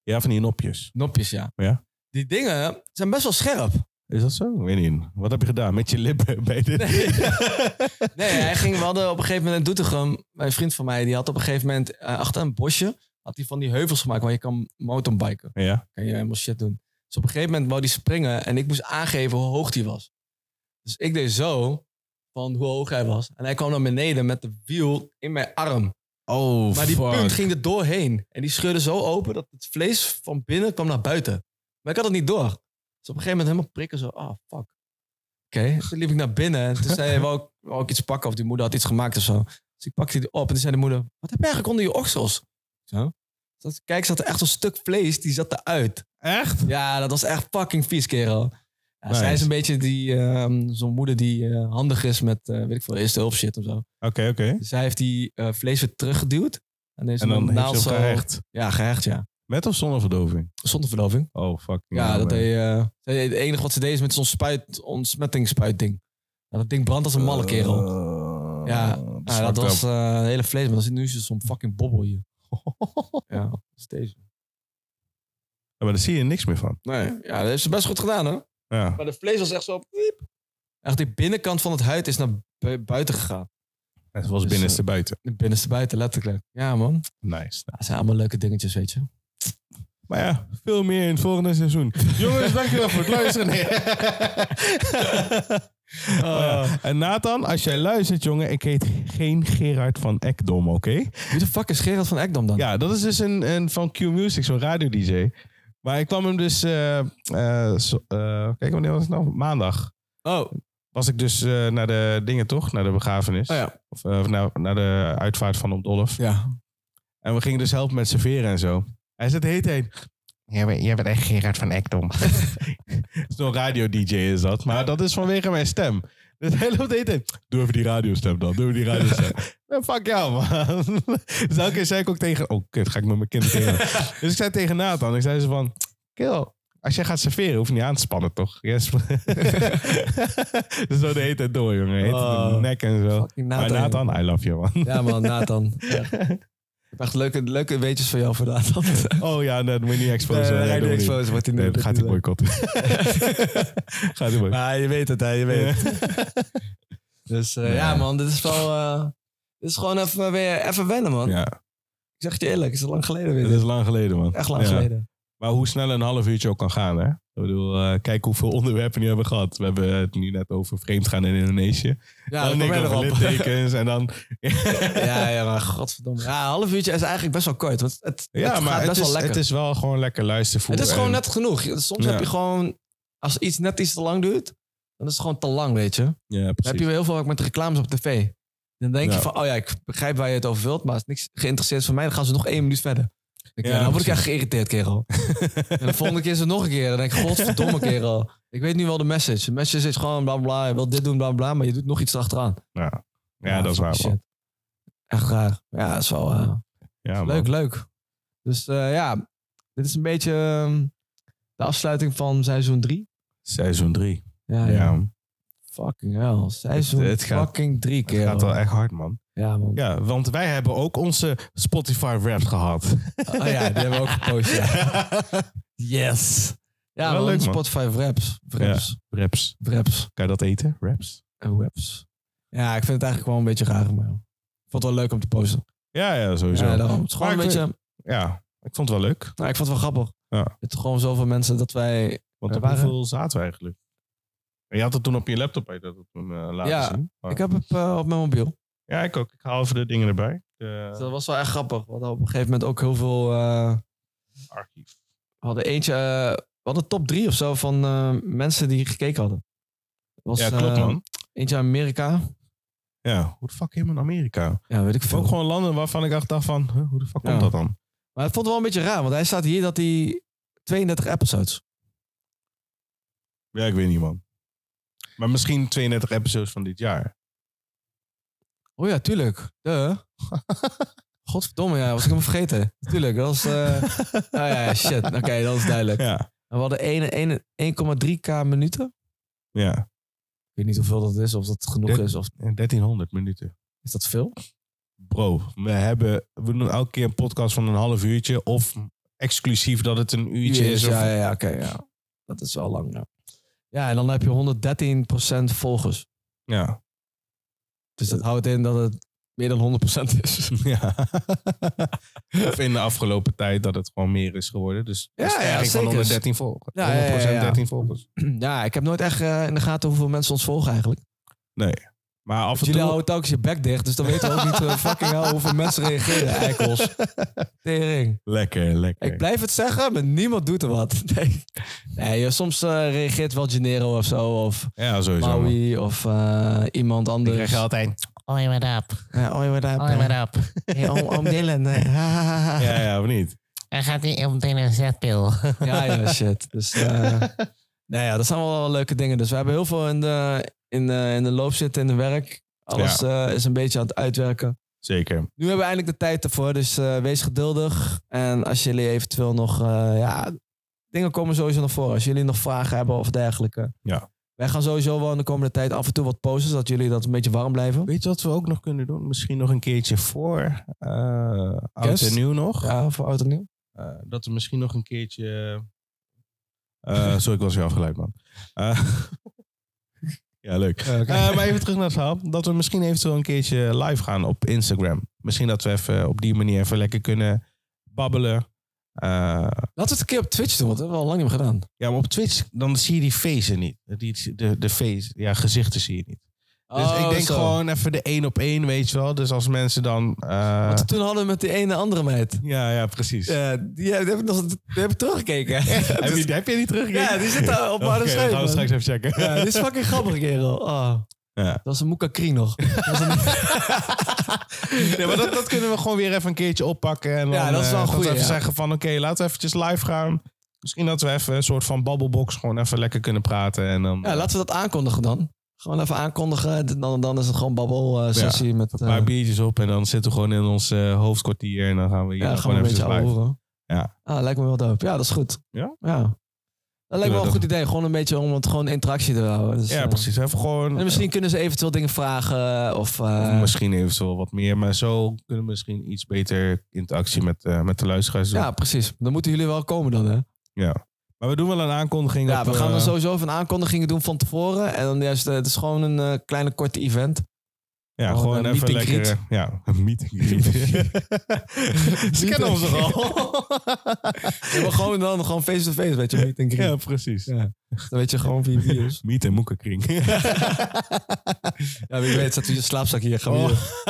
Ja, van die nopjes. Nopjes, ja. Ja. Die dingen zijn best wel scherp. Is dat zo? Weet niet. Wat heb je gedaan met je lippen bij dit? Nee. Nee, hij ging, we hadden op een gegeven moment in Doetinchem... Mijn vriend van mij, die had op een gegeven moment... eh, achter een bosje had hij van die heuvels gemaakt... waar je kan mountainbiken. Ja, Kan je helemaal shit doen. Dus op een gegeven moment wou hij springen... en ik moest aangeven hoe hoog hij was. Dus ik deed zo van hoe hoog hij was. En hij kwam naar beneden met de wiel in mijn arm. Oh, Maar die punt ging er doorheen. En die scheurde zo open dat het vlees van binnen kwam naar buiten. Maar ik had het niet door. Dus op een gegeven moment helemaal prikken zo. Ah, fuck. Toen liep ik naar binnen en toen zei hij, wou ik, wou ik iets pakken of die moeder had iets gemaakt of zo. Dus ik pakte die op en toen zei de moeder, wat heb je eigenlijk onder je oksels? Zo. Zat- Kijk, zat er echt een stuk vlees, die zat eruit. Echt? Ja, dat was echt fucking vies, kerel. Ja, Nice. Zij is een beetje die, ehm, zo'n moeder die eh, handig is met, eh, weet ik veel, eerste hulp shit of zo. Oké, oké. Dus zij heeft die eh, vlees weer teruggeduwd. En, heeft En dan heeft ze hem zo- gehecht. Ja, gehecht, ja. Met of zonder verdoving? Zonder verloving. Oh, fuck. Ja, dat deed, eh, zij deed- het enige wat ze deed is met zo'n spuit, ontsmettingsspuitding. Nou, dat ding brandt als een malle Eh, kerel. Ja, ja, dat was eh het hele vlees, maar dan zit nu zo'n fucking bobbel hier. ja, dat is deze. maar daar zie je niks meer van. Nee, ja, dat heeft ze best goed gedaan, hè? Ja. Maar de vlees was echt zo... piep. Echt die binnenkant van het huid is naar bu- buiten gegaan. Het was Dus, binnenste buiten. De binnenste buiten, letterlijk. Ja, man. Nice. Dat zijn allemaal leuke dingetjes, weet je. Maar ja, veel meer in het volgende seizoen. Jongens, dankjewel voor het luisteren. Nee. Oh, Oh, ja. En Nathan, als jij luistert, jongen, ik heet geen Gerard van Ekdom, oké? Wie de fuck is Gerard van Ekdom dan? Ja, dat is dus een, een van Q Music, zo'n radio DJ. Maar ik kwam hem dus, eh, eh, zo- eh, kijk wanneer was het nou? Maandag. Oh, Was ik dus eh, naar de dingen toch, naar de begrafenis. oh ja. Of eh, naar, naar de uitvaart van Oom Dolf. Ja. En we gingen dus helpen met serveren en zo. Hij zit heet heen. Jij bent, jij bent echt Gerard van Ekdom. Zo'n radio-dj is dat. Maar dat is vanwege mijn stem. Dus hij loopt heet heen. Doe even die radiostem dan. Doe even die radiostem. Nou, fuck jou, man. Dus elke keer zei ik ook tegen... Oh, kut, ga ik met mijn kind tegen. dus ik zei tegen Nathan. Ik zei ze van... Kill, als jij gaat serveren, hoef je niet aan te spannen, toch? Yes. dus zo de hele tijd door, jongen. Heet Oh. nek en zo. Fucking Maar Nathan, I love you, man. Ja, man, Nathan. Ja. Ik heb echt leuke, leuke weetjes voor jou voor Nathan. Oh ja, nee, dat moet je niet exposen. Nee, Nee, dat hij moet doet niet. exposed, wordt hij Nee, dat gaat hij mooi. boycotten. gaat hij boycotten. Maar je weet het, hè, je weet het. Dus eh, Nee. ja, man, dit is wel... eh, dit is gewoon even, weer, even wennen, man. Ja, Ik zeg het je eerlijk, het is lang geleden weer. dat is lang geleden, man. Echt lang Ja. geleden. Maar hoe snel een half uurtje ook kan gaan, hè? Ik bedoel, eh, kijk hoeveel onderwerpen we hebben gehad. We hebben het nu net over vreemdgaan in Indonesië. Ja, dan kom denk er ik over erop. littekens en dan... Ja, ja, maar godverdomme. Ja, een half uurtje is eigenlijk best wel kort. Want het, Ja, het gaat maar best het wel is, lekker. het is wel gewoon lekker luistervoer. Het is gewoon en- net genoeg. Soms Ja. heb je gewoon, als iets net iets te lang duurt, dan is het gewoon te lang, weet je. Dan Ja, heb precies. je weer heel veel ook met reclames op tv. Dan denk Ja. je van, oh ja, ik begrijp waar je het over wilt, maar als het niks geïnteresseerd is van mij, dan gaan ze nog één minuut verder. Dan, denk ik, Ja, ja, dan word ik echt geïrriteerd, kerel. en de volgende keer is het nog een keer. Dan denk ik, godverdomme, kerel. Ik weet nu wel de message. De message is gewoon bla bla, je wilt dit doen, bla bla, maar je doet nog iets erachteraan. Ah, Ja, dat is waar, fucking man. shit. Echt raar. Ja, dat is wel... eh, Ja, Ah, man. Leuk, leuk. Dus eh, ja, dit is een beetje ehm, de afsluiting van seizoen 3. Seizoen 3. Ja, Ja, ja. man. Fucking hell. Seizoen Het- het gaat- fucking 3 het keer. gaat wel echt hard, man. Ja, man. Ja, want wij hebben ook onze Spotify-rap gehad. Oh ja, die hebben we ook gepost. Ja. Yes. Ja, Wel man, leuk, man. Spotify raps. Raps. Raps. Raps. Kan je dat eten? Raps? En raps. Ja, ik vind het eigenlijk wel een beetje raar, maar ik vond het wel leuk om te posten. Ja, ja, sowieso. Ja, Ja, daarom. Het is gewoon Maar een ik beetje... ik vond het wel leuk. Nou, ik vond het wel grappig. Ja. Het is gewoon zoveel mensen dat wij... Want We op waren- hoeveel zaten we eigenlijk? Je had het toen op je laptop, je dat het toen eh, laten Ja, zien. Maar- Ik heb het eh, op mijn mobiel. Ja, ik ook. Ik haal even de dingen erbij. De Dus dat was wel echt grappig. We hadden op een gegeven moment ook heel veel... eh, archief. We hadden eentje, eh, we hadden top drie of zo van eh, mensen die gekeken hadden. Er Was, ja, klopt eh, man. Eentje uit Amerika. Ja, hoe de fuck helemaal in Amerika? Ja, weet ik veel. Ook gewoon landen waarvan ik echt dacht van, huh, hoe de fuck Ja. komt dat dan? Maar het vond het wel een beetje raar, want hij staat hier dat hij 32 episodes. Ja, ik weet niet man. Maar misschien 32 episodes van dit jaar. Oh ja, tuurlijk. Duh. Godverdomme, ja, was ik hem vergeten. Tuurlijk, dat was... eh, oh ja, shit. Oké, dat is duidelijk. Ja, En we hadden één- één- 1,3k minuten. ja. Ik weet niet hoeveel dat is, of dat genoeg Ja. is. Of, En 1300 minuten. is dat veel? Bro, we hebben, we doen elke keer een podcast van een half uurtje of exclusief dat het een uurtje is. Of, Ja, ja, ja, oké. ja. Dat is wel lang, ja. Ja, en dan heb je 113% volgers. ja. Dus dat houdt in dat het meer dan 100% is. Dus, Ja. of in de afgelopen tijd dat het gewoon meer is geworden. Dus Ja, een ja, stijging van zeker. 113 volgers. Ja, ja, ja, ja. 100% 13 volgers. ja, ik heb nooit echt eh, in de gaten hoeveel mensen ons volgen eigenlijk. Maar af en Jullie toe... houden telkens je bek dicht, dus dan weten we ook niet eh, fucking hell hoeveel mensen reageren, eikels. Tering. Lekker, lekker. Ik blijf het zeggen, maar niemand doet er wat. Nee. Nee, joh, soms eh, reageert wel Gennaro of zo. Of Ja, sowieso. man. Maui of eh, iemand Ik anders. krijg altijd... Oi, what up? Ja, oh, wat daar. Oi, what up? Hey, oom, oom Dylan. eh, hè. Ja, ja, of niet? Hij gaat niet om een zetpil. Ja, ja, shit. Dus, eh, nou ja, dat zijn wel, wel leuke dingen. Dus we hebben heel veel in de, in de, in de loop zitten, in de werk. Alles eh, is een beetje aan het uitwerken. Zeker. Nu hebben we eindelijk de tijd ervoor, dus eh, wees geduldig. En als jullie eventueel nog, eh, ja, dingen komen sowieso naar voren. Als jullie nog vragen hebben of dergelijke. Ja. Wij gaan sowieso wel in de komende tijd af en toe wat posten, zodat jullie dat een beetje warm blijven. Weet je wat we ook nog kunnen doen? Misschien nog een keertje voor eh oud Kerst? en nieuw nog. Ja, voor oud en nieuw. Eh, dat we misschien nog een keertje. eh, sorry, ik was weer afgeleid, man. Eh, ja, leuk. Eh, maar even terug naar het verhaal. Dat we misschien eventueel een keertje live gaan op Instagram. Misschien dat we even op die manier even lekker kunnen babbelen. Eh, Laten we het een keer op Twitch doen, want dat hebben we al lang niet meer gedaan. ja, maar op Twitch, dan zie je die faces niet. Die, de, de face, ja, gezichten zie je niet. Dus Oh, ik denk gewoon even de één op één, weet je wel. Dus als mensen dan... eh, Want toen hadden we met die ene andere meid. ja, ja, precies. Eh, Ja, die heb, die heb ik nog die heb ik teruggekeken. heb, Dus- je, heb je niet teruggekeken? ja, die zit daar op mijn Oké, dan gaan we straks even checken. Ja, dit is fucking grappig, kerel. Oh. Ja. Dat was een Moeka Krie nog. Dat was een- Ja, maar dat, dat kunnen we gewoon weer even een keertje oppakken. En Ja, dan, dat is wel eh, een goeie, even ja. zeggen van, oké, laten we eventjes live gaan. Misschien dat we even een soort van babbelbox gewoon even lekker kunnen praten. En dan ja, laten we dat aankondigen dan. Gewoon even aankondigen. Dan, dan is het gewoon babbel eh, sessie met... eh, een paar biertjes op en dan zitten we gewoon in ons eh, hoofdkwartier. En dan gaan we hier ja, dan gewoon gewoon een eventjes beetje live. ouwehoeren. Ja. Ah, lijkt me wel dope. Ja, dat is goed. Ja? Dat we lijkt me wel dat- een goed idee. Gewoon een beetje om het gewoon interactie te houden. Dus, Ja, eh, precies. Even gewoon... En misschien kunnen ze eventueel dingen vragen. Of, eh, of misschien eventueel wat meer. Maar zo kunnen we misschien iets beter interactie met, eh, met de luisteraars doen. ja, precies. Dan moeten jullie wel komen dan, hè? Maar we doen wel een aankondiging. Ja, op, we gaan dan eh, sowieso even aankondigingen doen van tevoren. En dan juist, eh, het is gewoon een eh, kleine korte event. Ja, Gewoon gewoon Oh, een even meet and lekker. Ja, een meet and greet. Ze Meet kennen ons and toch al? Ja, maar gewoon dan, gewoon face-to-face, weet je. Meet and greet. Ja, precies. Dan weet je gewoon wie wie is. Meet en moekenkring. Ja, wie weet, staat u je slaapzak hier. Gaan we Oh. hier.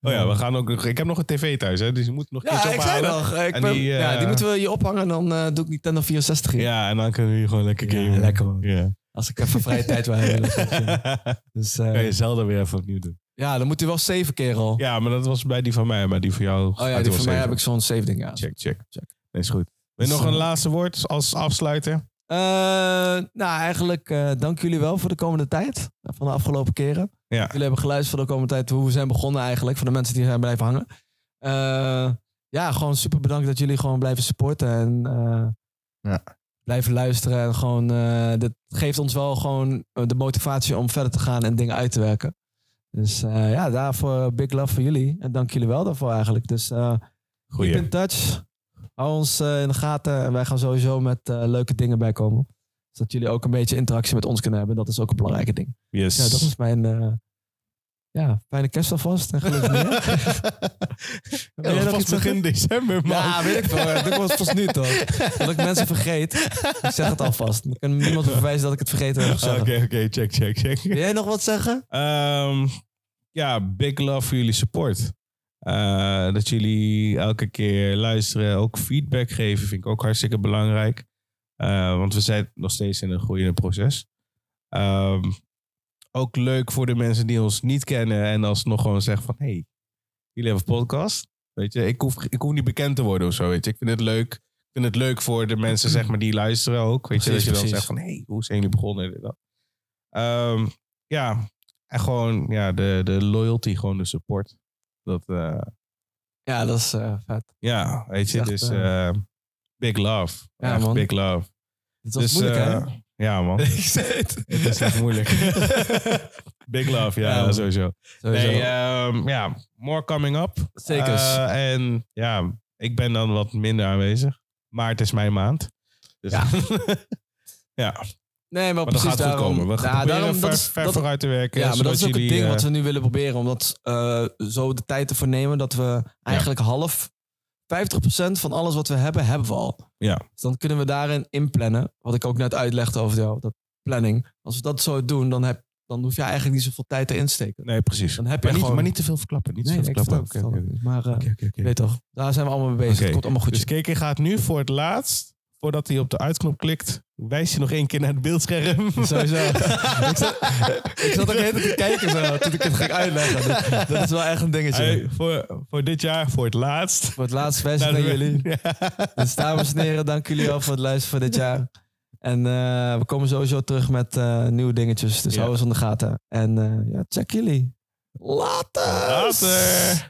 oh ja, we gaan ook. nog- Ik heb nog een tv thuis, hè, dus je moet nog iets Ja, ik zei ophalen. nog. Ik En ben- die, eh, ja, die moeten we hier ophangen en dan eh, doe ik Nintendo 64 in. Ja, en dan kunnen we hier gewoon lekker Ja, gamen. lekker, man. Ja. Als ik even vrije tijd wil hebben. Dus, eh, kan je Zelda weer even opnieuw doen. ja, dan moet u wel zeven keer al. Ja, maar dat was bij die van mij, maar die van jou. Ah, oh ja, die voor mij heb ik zo'n save ding. Ja. Check, check, Check. Nee, is goed. Wil je Dus, nog een eh, laatste woord als afsluiter? Eh, nou, eigenlijk eh, dank jullie wel voor de komende tijd. eh, Van de afgelopen keren. Ja. Jullie hebben geluisterd voor de komende tijd hoe we zijn begonnen eigenlijk. Voor de mensen die zijn blijven hangen. Eh, ja, gewoon super bedankt dat jullie gewoon blijven supporten. En eh, Ja. blijven luisteren. En gewoon, eh dat geeft ons wel gewoon eh, de motivatie om verder te gaan en dingen uit te werken. Dus eh, ja, daarvoor big love voor jullie. En dank jullie wel daarvoor eigenlijk. Dus eh, Goeie. Keep in touch. Hou ons eh, in de gaten. En wij gaan sowieso met eh, leuke dingen bijkomen. Zodat jullie ook een beetje interactie met ons kunnen hebben. Dat is ook een belangrijke ding. Yes. Ja, dat is mijn... eh, ja, fijne kerst alvast. En gelukkig nieuwjaar. Ja, Wil jij nog pas iets zeggen? begin december, man. Ja, weet ik wel. Dat was het pas nu toch. Dat ik mensen vergeet. Ik zeg het alvast. Dan kan niemand me verwijzen dat ik het vergeten heb Oké, gezegd. oké, check, check, check. Wil jij nog wat zeggen? Ehm, ja, big love voor jullie support. Eh, dat jullie elke keer luisteren, ook feedback geven, vind ik ook hartstikke belangrijk. Eh, want we zijn nog steeds in een groeiende proces. Ehm, ook leuk voor de mensen die ons niet kennen en alsnog gewoon zeggen van... hey, jullie hebben een podcast. Weet je, ik hoef, ik hoef niet bekend te worden of zo, weet je. Ik vind het leuk. Ik vind het leuk voor de mensen, zeg maar, die luisteren ook. Weet je, Precies, dat je dan zegt precies. van... hey, hoe zijn jullie begonnen? Dit en dat. Ehm, ja, en gewoon ja, de, de loyalty, gewoon de support. Dat, eh, Ja, dat is eh, vet. ja, weet je, Echt, dus eh, eh, big love. Ja, Echt man. big love. Dit was dus, moeilijk, hè? eh, Ja, man. Ik zei het. Het is echt moeilijk. Big love, ja, Ja, man. sowieso. Sowieso. Nee, ehm, ja, more coming up. Zeker. Eh, en ja, ik ben dan wat minder aanwezig. Maar het is mijn maand. Dus Ja. ja, nee, maar maar, dat precies gaat goed daarom. komen. We Ja, gaan proberen daarom, ver, dat is- ver dat- vooruit te werken. Ja, maar dat zodat is ook jullie, het ding eh, wat we nu willen proberen. Omdat eh, zo de tijd ervoor nemen dat we eigenlijk half... 50% van alles wat we hebben, hebben we al. Ja. Dus dan kunnen we daarin inplannen. Wat ik ook net uitlegde over jou, dat planning. Als we dat zo doen, dan, heb, dan hoef je eigenlijk niet zoveel tijd erin te steken. Nee, precies. Dan heb je maar, niet, gewoon... maar niet te veel verklappen. Niet te nee, veel nee, ik verklappen. vertel- Oké, oké, vertel. Maar eh, oké, oké, oké. je weet toch, daar zijn we allemaal mee bezig. Oké. Het komt allemaal goed. Dus KK gaat nu voor het laatst voordat hij op de uitknop klikt, wijst hij nog één keer naar het beeldscherm. Sowieso. ik, zat, ik zat ook de hele tijd te kijken zo, toen ik het ging uitleggen. Dus Dat, dat is wel echt een dingetje. Hey, Nou, voor, voor dit jaar, voor het laatst. Voor het laatst wijs Naar van de- jullie. Ja. Dus dames en heren, dank jullie wel voor het luisteren voor dit jaar. En eh, we komen sowieso terug met eh, nieuwe dingetjes. Dus Ja. hou ons in de gaten. En eh, ja, check jullie. Later! Later.